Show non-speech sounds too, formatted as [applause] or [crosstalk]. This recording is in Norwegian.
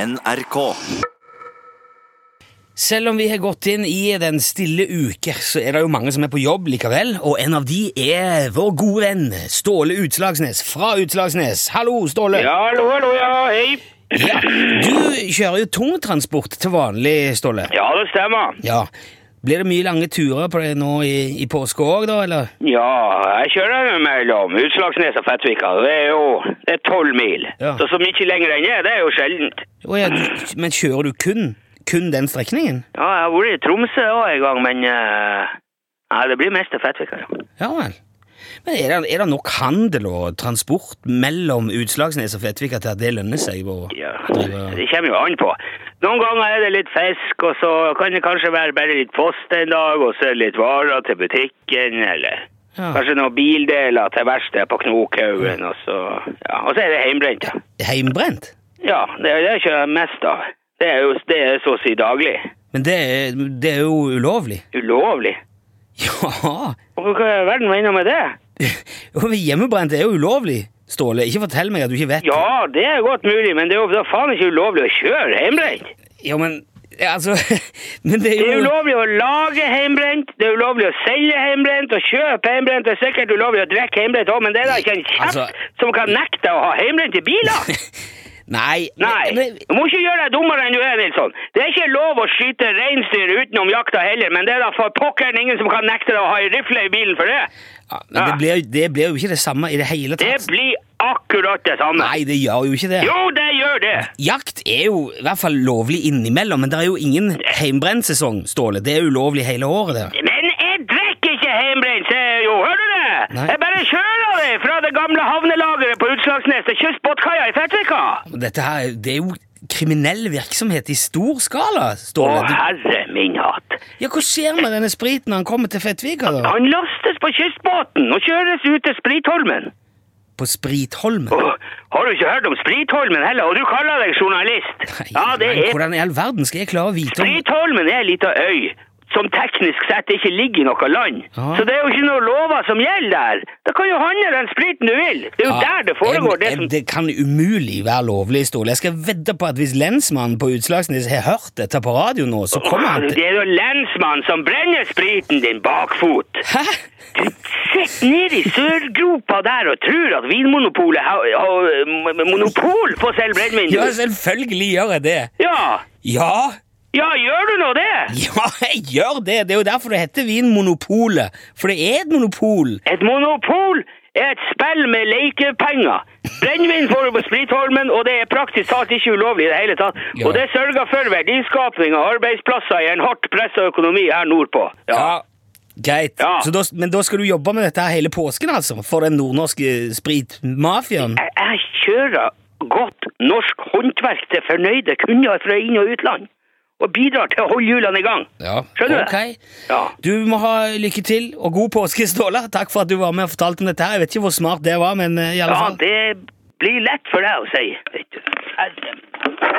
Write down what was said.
NRK. Selv om vi har gått inn i den stille uke, så er det jo mange som er på jobb likevel, og en av de er vår gode venn Ståle Utslagsnes fra Utslagsnes. Hallo, Ståle! Ja, hallo, hallo, ja, hei. Ja, Du kjører jo tungtransport til vanlig, Ståle. Ja, det stemmer. Ja. Blir det mye lange turer på det nå i, i påske òg, da, eller? Ja, jeg kjører jo mellom Utslagsnes og Fettvika. Det er jo det er tolv mil. Ja. Så så mye lenger enn det, det er jo sjeldent. Å ja, du, men kjører du kun, kun den strekningen? Ja, jeg har vært i Tromsø også en gang, men eh, Nei, det blir mest til Fettvika. ja. Ja vel. Men er det, er det nok handel og transport mellom Utslagsnes og Fettvika til at det lønner seg? å Ja, drive- det kommer jo an på. Noen ganger er det litt fisk, og så kan det kanskje være bare litt post en dag, og så er det litt varer til butikken, eller Ja. kanskje noen bildeler til verkstedet på Knokhaugen, og så Ja, og så er det hjemmebrent. Ja. Heimbrent? Ja, det er det jeg kjører mest av. Det er jo det er så å si daglig. Men det, er- det er jo ulovlig. [laughs] Ulovlig. Ja! Og Hva i all verden mener du med det? Og Hjemmebrent er jo ulovlig, Ståle. Ikke fortell meg at du ikke vet. Ja, det er godt mulig, men det er jo da faen ikke ulovlig å kjøre hjemmebrent. Ja, men ja, Altså [laughs] Men det er Det er jo ulovlig å lage hjemmebrent, det er ulovlig å selge hjemmebrent og kjøpe hjemmebrent. Det er sikkert ulovlig å drikke hjemmebrent òg, men det er da ikke en kjepp Altså- som kan nekte å ha hjemmebrent i biler. [laughs] Nei. Nei, men- du må ikke gjøre deg dummere enn du er, Nilsson. Det er ikke lov å skyte reinsdyr utenom jakta heller, men det er da for pokkeren ingen som kan nekte deg å ha ei rifle i bilen for det. ja, men det, blir, jo- det blir jo ikke det samme i det hele Det tatt. blir akkurat det samme. Nei, det gjør jo ikke det. Jo, det gjør det. Jakt er jo i hvert fall lovlig innimellom, men det er jo ingen heimebrentsesong, Ståle. Det er ulovlig hele året. det. Men jeg drikker ikke hjemmebrent, sier jeg jo. Hører du det? Nei. Jeg bare kjører det fra det gamle havnelageret på Utslagsnes til kystbåtkaia i Fettvika. Men Dette her, det er jo kriminell virksomhet i stor skala, Å, Ståle. Du, herre min hatt. ja, Hva skjer med denne spriten når han kommer til Fettvika, da? Han lastes på kystbåten og kjøres ut til Spritholmen. På Spritholmen? Åh, har du ikke hørt om Spritholmen heller? Og du kaller deg journalist. Nei, Ja, det men er Hvordan i all verden skal jeg klare å vite om Spritholmen er ei lita øy som teknisk sett ikke ligger i noe land. Ja. Så det er jo ikke noen lover som gjelder der. Da kan jo handle den spriten du vil. Det er jo Ja, der det foregår. jeg- Det jeg- som... det kan umulig være lovlig, Ståle. Jeg skal vedde på at hvis lensmannen på Utslagsnes har hørt dette på radio nå, så kommer han til Det er jo lensmannen som brenner spriten din bakfot. Hæ? Du sitter nede i sørgropa der og tror at Vinmonopolet har, har m- monopol på å selge brennevin. Ja, altså- selvfølgelig gjør jeg det. Ja. Ja, ja, gjør du nå det? ja, jeg gjør det. Det er jo derfor det heter Vinmonopolet. For det er et monopol. Et monopol er et spill med lekepenger. Brennevin får du på Spritholmen, og det er praktisk talt ikke ulovlig i det hele tatt. Ja. Og det sørger for verdiskapning og arbeidsplasser i en hardt pressa økonomi her nordpå. Ja. Greit. Ja. Så da, men da skal du jobbe med dette her hele påsken, altså? For den nordnorske spritmafiaen? Jeg, jeg kjører godt norsk håndverk til fornøyde kunder fra inn- og utland. Og bidrar til å holde hjulene i gang. Ja, Skjønner du? ok. Ja. Du må ha lykke til, og god påske, Ståle. Takk for at du var med og fortalte om dette. her. Jeg vet ikke hvor altså- smart det var, men eh, i alle ja, fall det blir lett for deg å si. vet du. Herre.